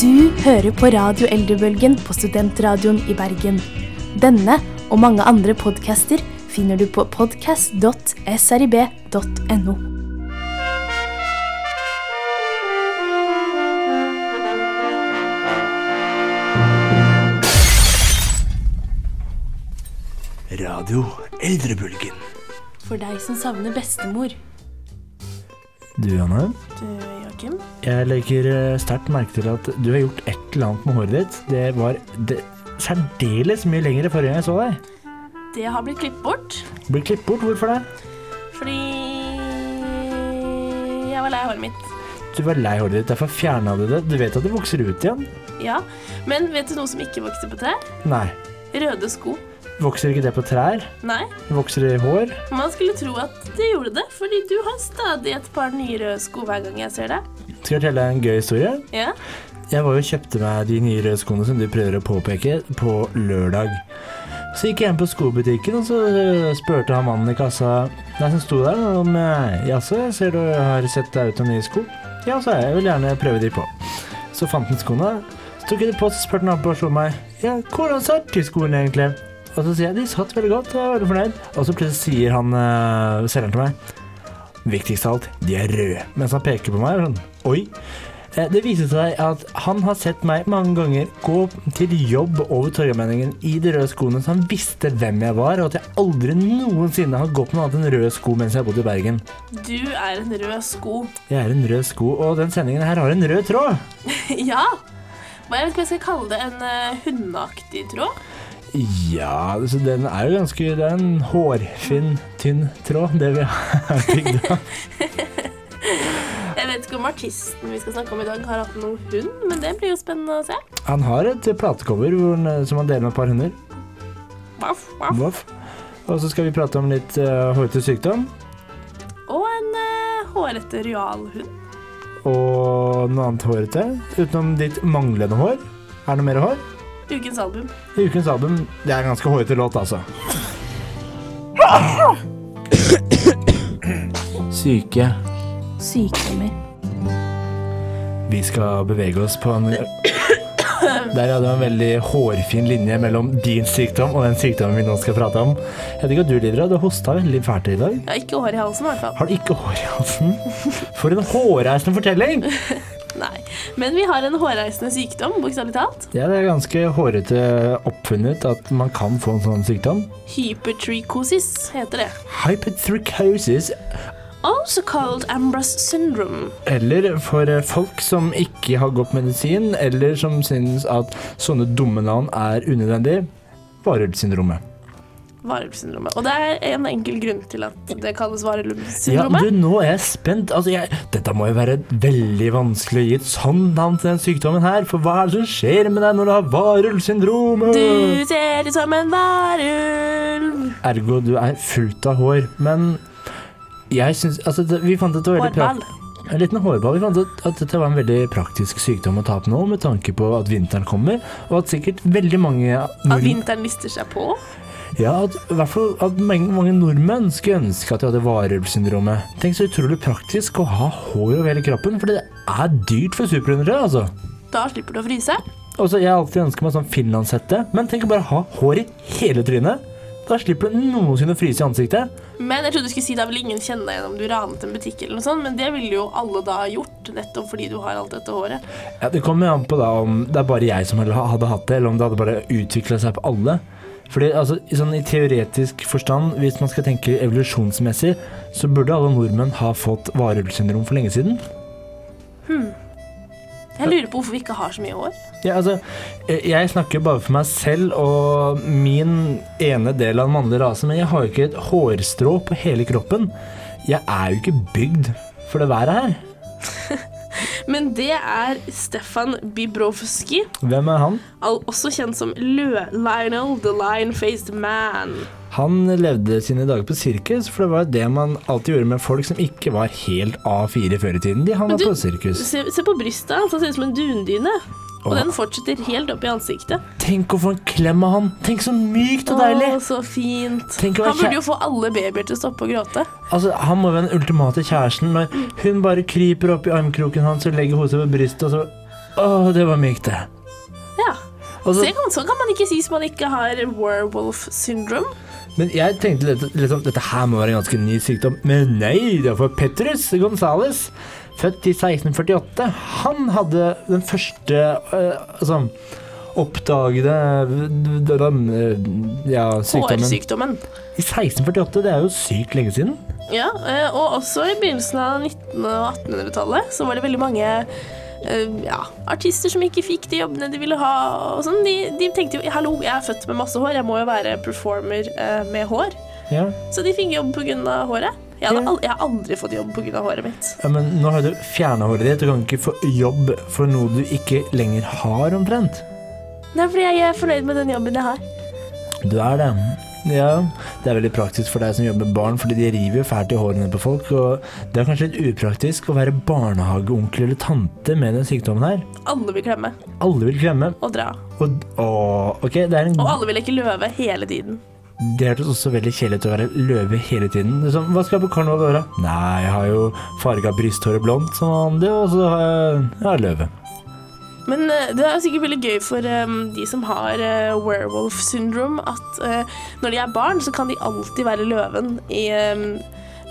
Du hører på Radio Eldrebølgen på Studentradioen i Bergen. Denne og mange andre podcaster finner du på podcast.srib.no. Radio Eldrebølgen. For deg som savner bestemor. Du, Anne, Du, Eh, Joakim. jeg legger eh, sterkt merke til at du har gjort et eller annet med håret ditt. Det var det, særdeles mye lengre forrige gang jeg så deg. Det har blitt klippet bort Blir klippet bort, hvorfor det? fordi jeg var lei av håret mitt. Du var lei håret ditt, derfor fjerna du det. Du vet at det vokser ut igjen? Ja, Men vet du noe som ikke vokser på trær? Nei. Røde sko. Vokser ikke det på trær? Nei, Vokser det i hår? man skulle tro at det gjorde det, fordi du har stadig et par nye røde sko hver gang jeg ser deg. Skal jeg fortelle deg en gøy historie? Ja, Jeg var jo og kjøpte meg de nye røde skoene som du prøver å påpeke, på lørdag. Så gikk jeg inn på skobutikken, og så øh, spurte han mannen i kassa Nei, som sto der, om øh, Jaså, jeg ser du har sett deg ut noen nye sko. Ja, sa jeg. Jeg vil gjerne prøve de på. Så fant han skoene. Så tok jeg de på, så spurte han opp og slo meg. Ja, hvordan satt de skoene egentlig? Og så sier jeg de satt veldig godt, jeg er veldig fornøyd. Og så plutselig sier han øh, selgeren til meg Viktigst av alt, de er røde. Mens han peker på meg sånn Oi. Eh, Det viste seg at han har sett meg mange ganger gå til jobb over Torgallmenningen i de røde skoene, så han visste hvem jeg var, og at jeg aldri noensinne har gått med noe annet enn røde sko mens jeg har bodd i Bergen. du er en rød sko. Jeg er en rød sko, og den sendingen her har en rød tråd. Ja. Hva jeg vet ikke hva jeg skal kalle det. En eh, hundeaktig tråd. Ja, så den er jo ganske Det er en hårfin, tynn tråd, det vi har bygd av. Jeg vet ikke om artisten vi skal snakke om i dag, har hatt noen hund, men det blir jo spennende å se. Han har et platecover hvor han- som han deler med et par hunder. Voff, voff. Voff. Og så skal vi prate om litt uh, hårete sykdom. Og en uh, hårete realhund. og noe annet hårete. Utenom ditt manglende hår. Er det noe mer hår? Ukens album. I ukens album Det er en ganske hårete låt, altså. Syke. Sykdommer. Vi skal bevege oss på en Der hadde vi en veldig hårfin linje mellom din sykdom og den sykdommen vi nå skal prate om. Jeg vet ikke hva du lider av. Du hosta veldig fælt i dag. Ja, ikke hår i halsen, i hvert fall. Har du ikke hår i halsen? For en hårreisende fortelling! Nei. Men vi har en hårreisende sykdom, bokstavelig talt. Ja, det er ganske hårete oppfunnet at man kan få en sånn sykdom. Hypertrichosis heter det. Hypertrichosis, Also called Ambrose syndrome. eller for eh, folk som ikke har gått medisin, eller som synes at sånne dumme navn er unødvendig, varulvsyndromet. Varulvsyndromet. Og det er en enkel grunn til at det kalles Ja, varulvsyndromet. du, nå er jeg spent. Altså, jeg, dette må jo være veldig vanskelig å gi et sånn navn til den sykdommen her, for hva er det som skjer med deg når du har varulvsyndromet? Du ser ut som en varulv. Ergo, du er fullt av hår, men jeg synes, altså, det, vi fant at det var veldig Hårball. prak- En liten hårball. Vi fant ut at dette var en veldig praktisk sykdom å ta på nå, med tanke på at vinteren kommer, og at sikkert veldig mange At nordmenn, vinteren lister seg på. ja, at, i hvert fall at mange, mange nordmenn skulle ønske at de hadde varulvsyndromet. Tenk så utrolig praktisk å ha hår over hele kroppen, for det er dyrt for superhundre, altså. Da slipper du å fryse. Og så Jeg har alltid ønsket meg sånn finlandshette, men tenk å bare ha hår i hele trynet. Da slipper du noensinne å fryse i ansiktet. Men jeg trodde du skulle si da vil ingen kjenne deg igjen om du ranet en butikk eller noe sånt, men det ville jo alle da ha gjort, nettopp fordi du har alt dette håret. Ja, det kommer jo an på da om det er bare jeg som hadde hatt det, eller om det hadde bare utvikla seg på alle. Fordi altså, i sånn, I teoretisk forstand, hvis man skal tenke evolusjonsmessig, så burde alle nordmenn ha fått varulvsyndrom for lenge siden. Jeg lurer på hvorfor vi ikke har så mye hår. Ja, altså, eh, jeg snakker jo bare for meg selv og min ene del av den mannlige rasen, men jeg har jo ikke et hårstrå på hele kroppen. Jeg er jo ikke bygd for det været her. Men det er Stefan Bibrovski, Hvem er han? al- også kjent som Lø-Lionel, the lion-faced man. Han levde sine dager på sirkus, for det var jo det man alltid gjorde med folk som ikke var helt A4 før i tiden. De havna Men du- på sirkus. Se, se på brystet hans, han ser ut som en dundyne. Og Åh. den fortsetter helt opp i ansiktet. Tenk å få en klem av han! Tenk så mykt og deilig! Å, så fint. Tenk å være Han burde kjær- jo få alle babyer til å stoppe å gråte. Altså, Han må være den ultimate kjæresten når hun bare kryper opp i armkroken hans og legger hodet på brystet, og så Å, det var mykt, det. Ja. Og Så så- jeg kan, sånn kan man ikke si hvis man ikke har werewolf syndrome. Men jeg tenkte litt, liksom, dette her må være en ganske ny sykdom. Men nei, det var Petrus Gonzales. Født i 1648. Han hadde den første eh, altså, oppdagede eh, den, eh, ja, sykdommen I Hårsykdommen. 1648, det er jo sykt lenge siden. Ja, eh, og også i begynnelsen av 1900- og 1800-tallet så var det veldig mange eh, ja, artister som ikke fikk de jobbene de ville ha. Og sånn. de, de tenkte jo hallo, jeg er født med masse hår, jeg må jo være performer eh, med hår. Ja. Så de fikk jobb pga. håret. Jeg, hadde Ja. al- jeg har aldri fått jobb pga. håret mitt. Ja, men nå har du fjerna håret ditt. Du kan ikke få jobb for noe du ikke lenger har, omtrent. Det er fordi jeg er fornøyd med den jobben jeg har. Du er det. Ja, det er veldig praktisk for deg som jobber med barn, fordi de river jo fælt i hårene på folk, og det er kanskje litt upraktisk å være barnehageonkel eller tante med den sykdommen her. Alle vil klemme Alle vil klemme, og dra. og å, ok, det er en Og alle vil leke løve hele tiden. Det hørtes også veldig kjedelig ut å være løve hele tiden. Liksom, hva skal jeg på karneval i år, da? Nei, jeg har jo farga brysthåret blondt som vanlig, og så har jeg, jeg har løve. Men eh, det er jo sikkert veldig gøy for em, de som har eh, werewolf syndrome, at eh, når de er barn, så kan de alltid være løven i em,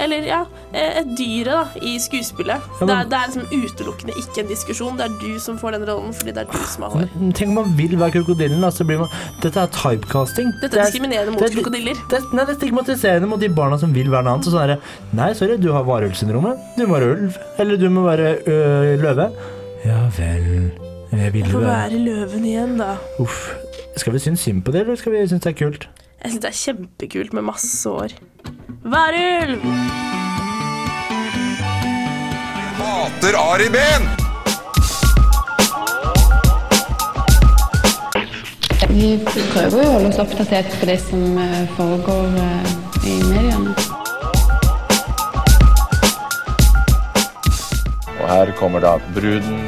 Eller ja, eh, et dyret da, i skuespillet. Ja, men- det, er, det er liksom utelukkende ikke en diskusjon. Det er du som får den rollen fordi det er du som har hår. Men Tenk om man vil være krokodillen, da, så blir man Dette er typecasting. Dette er diskriminerende mot det er- krokodiller. Det, nei, det er stigmatiserende mot de barna som vil være noe annet. Så sånn er det, nei, sorry, du har varulvsyndromet. Du må være ulv. Eller du må være ø, løve. Ja vel. Jeg Jeg ville får være være løven igjen, da. Uff. Skal vi synes synd på det, eller skal vi synes det er kult? Jeg syns det er kjempekult med masse hår. Værulv! Hater Ari Behn! Vi prøver jo å holde oss oppdatert på det som eh, foregår eh, i mediene. Og her kommer da bruden,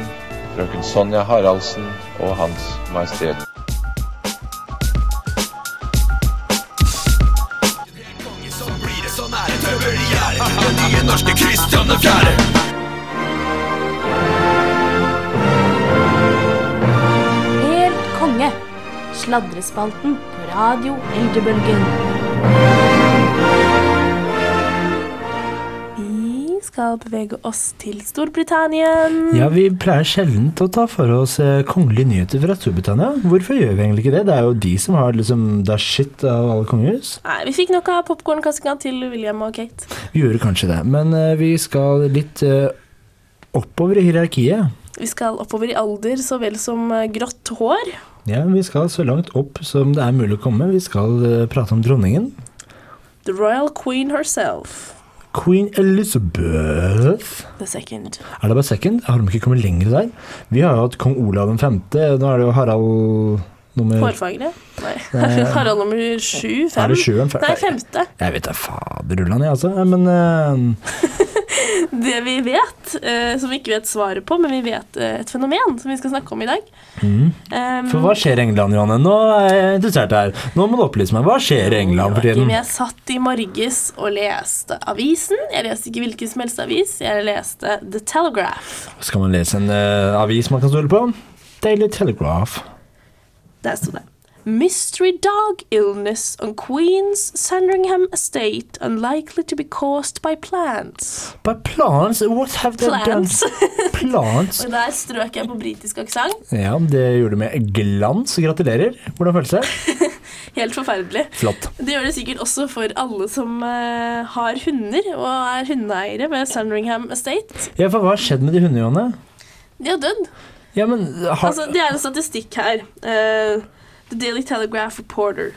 frøken Sonja Haraldsen og Hans Majestet. Helt konge! Sladrespalten på Radio Eldrebølgen. Vi skal bevege oss til Storbritannia. Ja, vi pleier sjelden å ta for oss eh, kongelige nyheter fra Storbritannia. Hvorfor gjør vi egentlig ikke det? Det er jo de som har liksom the shit av alle kongehus. Nei, vi fikk nok av popkornkastinga til William og Kate. Vi gjorde kanskje det, men eh, vi skal litt eh, oppover i hierarkiet. Vi skal oppover i alder så vel som eh, grått hår. Ja, Vi skal så langt opp som det er mulig å komme. Vi skal eh, prate om dronningen. The royal queen herself. Queen Elizabeth. The second. Er det bare second? Har de ikke kommet lenger der? Vi har jo hatt kong Olav 5. Nå er det jo Harald nummer Hårfagre? Nei. Harald nummer sju? Er Fem? det sjueren? Fe- Nei, femte. Jeg vet da faderullan, jeg, altså. Ja, Men eh, Det vi vet, eh, som vi ikke vet svaret på, men vi vet eh, et fenomen som vi skal snakke om i dag. Um, mm. For hva skjer i England, Johanne? Nå er jeg interessert her. Nå må du opplyse meg. Hva skjer i England for Joakim, tiden? Jeg satt i morges og leste avisen. Jeg leste ikke hvilken som helst avis, jeg leste The Telegraph. Skal man lese en eh, avis man kan stole på? Daily Telegraph. Der sto det. Mystery dog illness on Queen's Sandringham estate unlikely to be caused by plants. But plants, what have they Plants. done? Plants. Og der strøk jeg på britisk aksent. Ja, det gjorde du med glans. Gratulerer. Hvordan føles det? Helt forferdelig. Flott. Det gjør det sikkert også for alle som eh, har hunder og er hundeeiere ved Sandringham estate. Ja, for hva har skjedd med de hundene, Johanne? De har dødd. Ja, men har... Altså, det er en statistikk her. Eh, The Daily Telegraph Reporter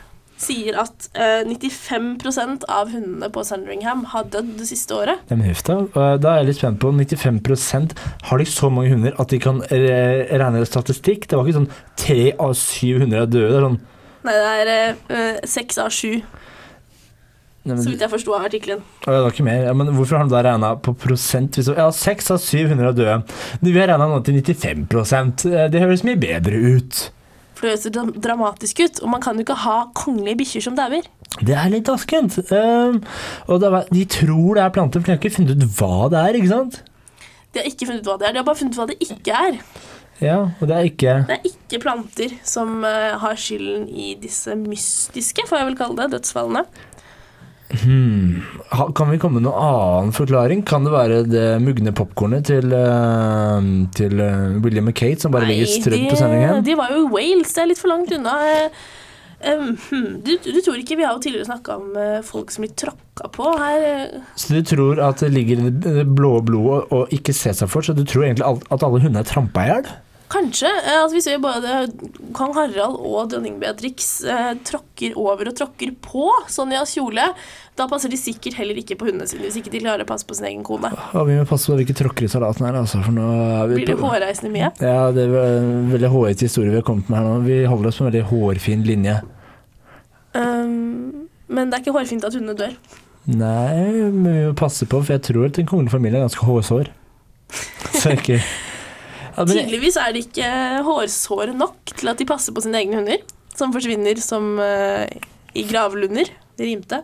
sier at eh, 95 av hundene på Sandringham har dødd det siste året. Nei, men huff da. Eh, Da er jeg litt spent på 95 Har de så mange hunder at de kan eh, regne statistikk? Det var ikke sånn tre av syv hunder er døde. Det er sånn Nei, det er eh, seks av sju, Nei, men, så vidt jeg forsto av artikkelen. Å, ja, det var ikke mer. Ja, men hvorfor har de da regna på prosent? Hvis- Ja, seks av syv hunder er døde. Vi har regna nå til 95 Eh, Det høres mye bedre ut. For det høres så dra- dramatisk ut, og man kan jo ikke ha kongelige bikkjer som dauer. Det er litt askent. Ehm, og det er, de tror det er planter, for de har ikke funnet ut hva det er, ikke sant? De har ikke funnet ut hva det er, de har bare funnet ut hva det ikke er. Ja, og det er ikke Det er ikke planter som eh, har skylden i disse mystiske, får jeg vel kalle det, dødsfallene. ha, Kan vi komme med noen annen forklaring? Kan det være det mugne popkornet til, eh, til eh, William og Kate som bare Nei, ligger strødd de- eh, på sendingen? De var jo i Wales, det er litt for langt unna. Eh, em, hm, du, du tror ikke Vi har jo tidligere snakka om eh, folk som blir tråkka på her. eh. Så du tror at det ligger i det blå blodet og ikke ser seg for, så du tror egentlig alt- at alle hundene er trampa i hjel? Kanskje. eh, Altså, vi ser jo både kong Harald og dronning Beatrix eh, tråkker over og tråkker på Sonjas kjole. Da passer de sikkert heller ikke på hundene sine hvis ikke de klarer å passe på sin egen kone. Og vi må passe på at vi ikke tråkker i salaten her, altså, for nå er vi Blir det på hårreisende mye? Ja, det er en veldig hårete historie vi har kommet med her nå. Vi holder oss på en veldig hårfin linje. Um, men det er ikke hårfint at hundene dør. Nei, men vi må passe på, for jeg tror at den kongelige familien er ganske hårsår. Så ikke ja, men, Tydeligvis er det ikke hårsår nok til at de passer på sine egne hunder, som forsvinner som eh, i gravlunder. Det rimte.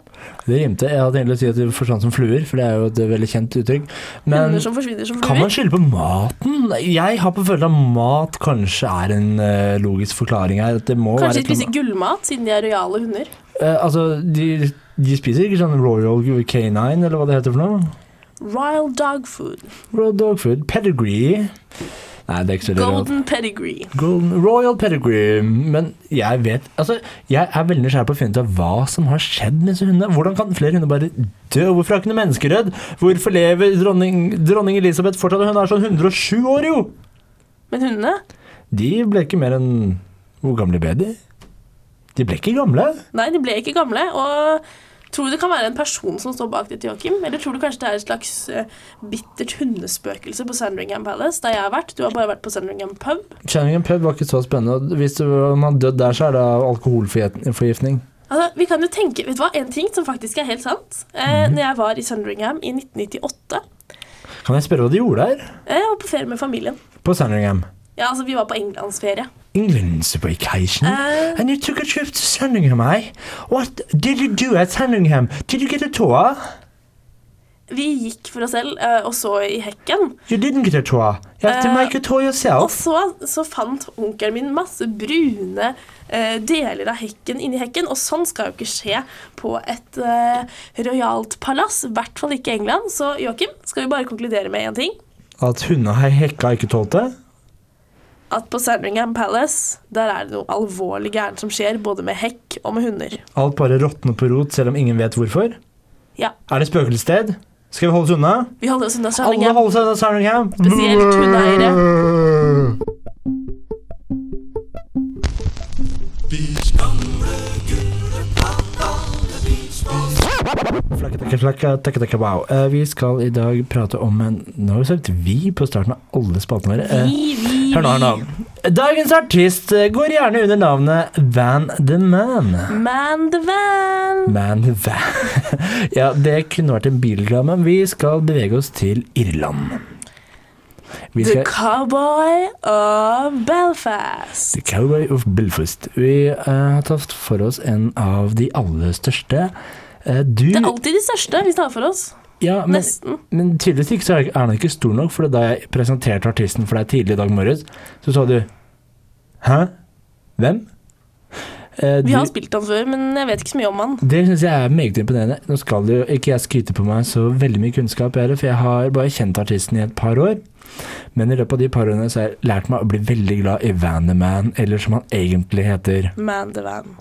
Det rimte. Jeg hadde egentlig å si at de forsvant som fluer, for det er jo et veldig kjent uttrykk. Men Hunder som forsvinner som kan man fluer. skylde på maten? Jeg har på følelsen at mat kanskje er en eh, logisk forklaring her. At det må Kanskje være de et eller spiser gullmat, siden de er rojale hunder. annet- Eh, Altså, de, de spiser ikke sånn Royal Canine, eller hva det heter for noe? Royal dog food. Royal Dog Food, Pedigree Nei, det er ikke så relevant. Golden pedigree. Golden Royal Pedigree. Men jeg vet Altså, jeg er veldig nysgjerrig på å finne ut av hva som har skjedd med disse hundene. Hvordan kan flere hunder bare dø? Hvorfor er ikke noe menneskeredd? Hvorfor lever dronning, dronning Elisabeth fortsatt? Hun er sånn 107 år, jo! Men hundene? De ble ikke mer enn Hvor gamle ble de? De ble ikke gamle. Nei, de ble ikke gamle. Og tror du det kan være en person som står bak dette, Joakim? Eller tror du kanskje det er et slags eh, bittert hundespøkelse på Sandringham Palace, der jeg har vært? Du har bare vært på Sandringham pub. Channingen pub var ikke så spennende. og Hvis du, om han døde der, så er det av alkoholforgiftning. Altså, vi kan jo tenke, vet du hva, En ting som faktisk er helt sant. Eh, Når jeg var i Sandringham i 1998 Kan jeg spørre hva de gjorde der? eh, Jeg var på ferie med familien. På Sandringham. Ja, altså, Vi var på englandsferie. England's vacation, Uh, and you took a trip to Sandringham, eh? What did you do at Sandringham? Did you get a tour? Vi gikk for oss selv eh, og så i hekken. You didn't get a tour. You have to Eh, make a tour Og yourself. så, så fant onkelen min masse brune eh, deler av hekken inni hekken, og sånn skal jo ikke skje på et eh, rojalt palass. I hvert fall ikke i England. Så Joakim, skal vi bare konkludere med én ting? At hundene har hekka ikke tålt det? At på Sandringham Palace der er det noe alvorlig gærent som skjer, både med hekk og med hunder. Alt bare råtner på rot, selv om ingen vet hvorfor? Ja. Er det spøkelsessted? Skal vi holde oss unna? Vi holder oss unna Alle Sandringham. holder seg unna Sandringham! Spesielt hundeeiere. Flakka, flakka, takka, takka, wow. Eh, Vi skal i dag prate om en Nå har vi sagt vi på starten av alle spaltene våre. Eh, Vi, vi, Hør nå, hør nå. Dagens artist eh, går gjerne under navnet Van the Man. Man the van. Man the Van. Ja, det kunne vært en bilreklame. Vi skal bevege oss til Irland. Vi The skal cowboy of Belfast. The Cowboy of Belfast. Vi eh, har tatt for oss en av de aller største. Eh, du Det er alltid de største vi tar for oss. ja, men, Nesten. men tydeligvis ikke så er er den ikke stor nok, for da jeg presenterte artisten for deg tidlig i dag morges, så sa du Hæ? Hvem? Eh, Vi du- har spilt han før, men jeg vet ikke så mye om han. Det syns jeg er meget imponerende. Nå skal jo ikke jeg skryte på meg så veldig mye kunnskap, jeg heller, for jeg har bare kjent artisten i et par år. Men i løpet av de par årene så har jeg lært meg å bli veldig glad i Van the Man, eller som han egentlig heter, Man the van.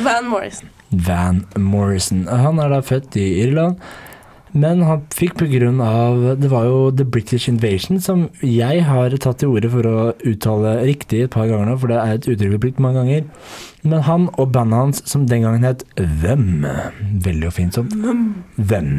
Van Morrison. Van Morrison. Han er da født i Irland, men han fikk på grunn av Det var jo The British Invasion, som jeg har tatt til orde for å uttale riktig et par ganger nå, for det er et uttrykk vi har brukt mange ganger. Men han og bandet hans, som den gangen het Hvem, veldig oppfinnsomt Hvem,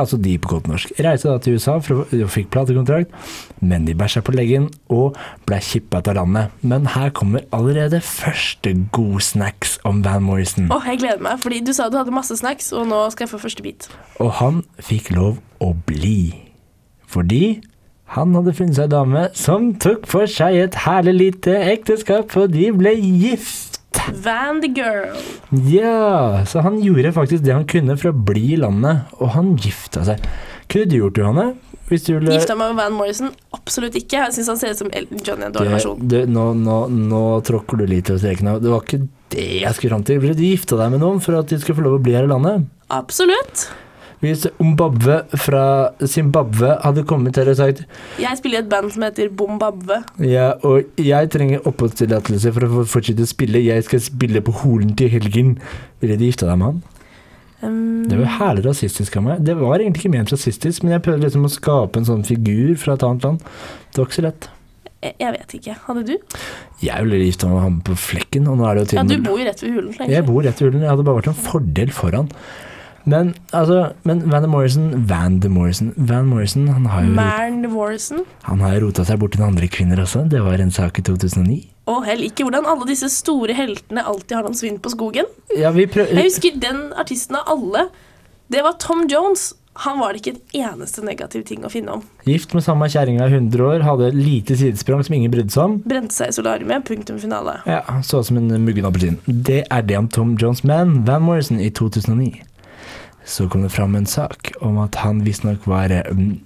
altså de på godt norsk, reiste da til USA for å, og fikk platekontrakt, men de bæsja på leggen og ble kippa ut av landet. Men her kommer allerede første god snacks om Van Morrison. Åh, jeg gleder meg, fordi du sa du hadde masse snacks, og nå skal jeg få første bit. Og han fikk lov å bli. Fordi han hadde funnet seg ei dame som tok for seg et herlig lite ekteskap, og de ble gift. Van the girl. Ja, så han gjorde faktisk det han kunne for å bli i landet, og han gifta seg. Kunne du gjort det, Johanne? Hvis du vil Gifta meg med Van Morrison? Absolutt ikke. Jeg syns han ser ut som Elton John i en dårlig versjon. Det- det- nå, nå, nå tråkker du litt over streken. her. Det var ikke det jeg skulle fram til. Du gifta deg med noen for at de skulle få lov å bli her i landet. Absolutt. Hvis Zimbabwe fra Zimbabwe hadde kommet her og sagt Jeg spiller i et band som heter Bombabwe. ja, og jeg trenger oppholdstillatelse for å få fortsette å spille, jeg skal spille på Holen til helgen, ville de gifta deg med han? Um, Det var herlig rasistisk av meg. Det var egentlig ikke ment rasistisk, men jeg prøvde liksom å skape en sånn figur fra et annet land. Det var ikke så lett. jeg, jeg vet ikke. Hadde du? Jeg ville gifta meg med han på flekken, og nå er det jo Ja, til du bor jo rett ved hulen. egentlig. Jeg bor rett ved hulen. Jeg hadde bare vært en fordel foran. Men altså, men Van de Morrison Van de Morrison Van Morrison, han har jo rot, Mern Morrison. han har jo rota seg bort til andre kvinner også. Det var en sak i 2009. Og hell ikke hvordan alle disse store heltene alltid har noen svinn på skogen. Ja, vi prøver Jeg husker den artisten av alle. Det var Tom Jones. Han var det ikke en eneste negativ ting å finne om. Gift med samme kjerringa i 100 år, hadde lite sidesprang som ingen brydde seg om. Brente seg i solariet. Punktum finale. Ja, Så ut som en muggen appelsin. Det er det om Tom Jones man, Van Morrison, i 2009. Så kom det fram en sak om at han visstnok var eh, mm,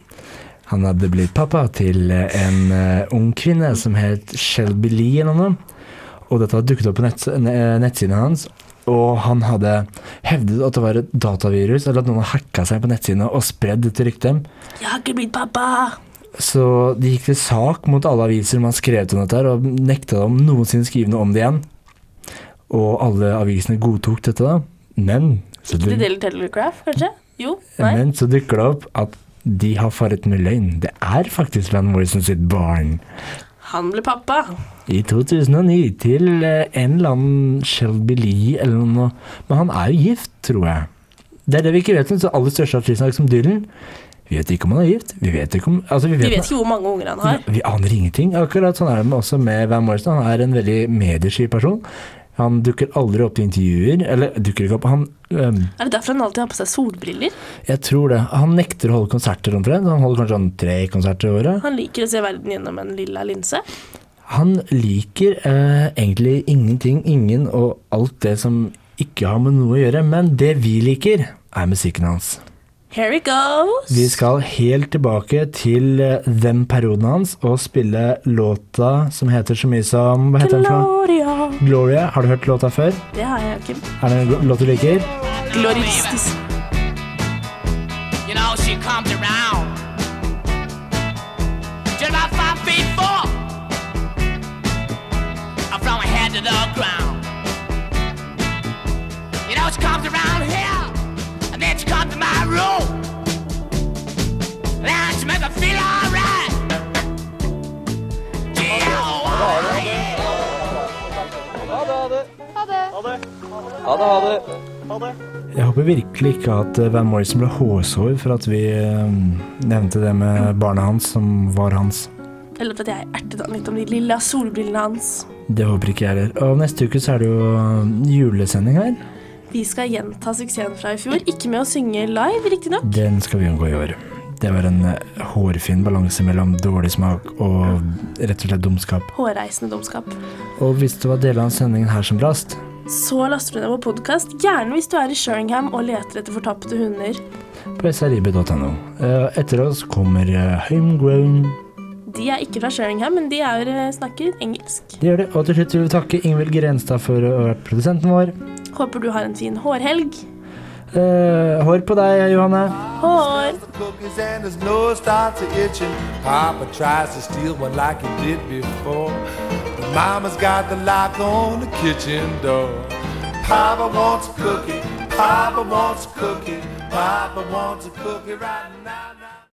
Han hadde blitt pappa til eh, en eh, ung kvinne som het Shelby Lee eller noe. Og dette hadde dukket opp på nett, ne- nettsiden hans. Og han hadde hevdet at det var et datavirus, eller at noen hadde hacka seg på nettsidene og spredd dette ryktet. Jeg har ikke blitt pappa! Så de gikk til sak mot alle aviser man skrev til dette her, og nekta dem noensinne skrive noe om det igjen. Og alle avisene godtok dette, da. Men så, Ikke du, The Daily Telegraph, kanskje? Jo? Nei? men så dukker det opp at de har faret med løgn. Det er faktisk Van Morrison sitt barn. Han ble pappa. I 2009 til eh, en eller annen Shelby Lee eller noe. Men han er jo gift, tror jeg. Det er det vi ikke vet om. Så aller største artistsak som Dylan Vi vet ikke om han er gift. Vi vet ikke om altså, vi vet Vi vet ikke hvor mange unger han har. Ja, Vi aner ingenting. Akkurat sånn er det med- også med Van Morrison. Han er en veldig mediesky person. Han dukker aldri opp i intervjuer. Eller dukker ikke opp Han øhm, Er det derfor han alltid har på seg solbriller? Jeg tror det. Han nekter å holde konserter omtrent. Han holder kanskje sånn tre konserter i året. Han liker å se verden gjennom en lilla linse. Han liker eh, egentlig ingenting, ingen og alt det som ikke har med noe å gjøre. Men det vi liker, er musikken hans. Here it goes! Vi skal helt tilbake til eh, den perioden hans og spille låta som heter så mye som Hva heter den? for noe? Gloria. Gloria, har du hørt låta før? Det har jeg ikke. Er det en låt du liker? Gloristisk. You know, she comes around. Just about five feet four. I'm from her head to the ground. You know, she comes around here. And then she comes to my room. Then she makes me feel alright. G-O-R-E. Jeg håper virkelig ikke at eh, Van Morrison ble hårsår for at vi eh, nevnte det med barnet hans som var hans. Eller at jeg ertet han litt om de lilla solbrillene hans. Det håper ikke jeg heller. Og neste uke så er det jo eh, julesending her. Vi skal gjenta suksessen fra i fjor, ikke med å synge live, riktignok. Den skal vi unngå i år. Det var en eh, hårfin balanse mellom dårlig smak og rett og slett dumskap. Hårreisende dumskap. Og hvis det var deler av sendingen her som brast, Så laster du ned vår podkast, gjerne hvis du er i Sheringham og leter etter fortapte hunder. på srib.no. Eh, Etter oss kommer eh, Homegrown. De er ikke fra Sheringham, men de er, eh, snakker engelsk. Det gjør det. Og til slutt vil vi takke Ingvild Grenstad for å ha vært produsenten vår. Håper du har en fin hårhelg. Eh, hår på deg, Johanne. Hår! cookies and his nose starts to itching. Papa tries to steal one like he did before. But Mama's got the lock on the kitchen door. Papa wants a cookie. Papa wants a cookie. Papa wants a cookie right now. now.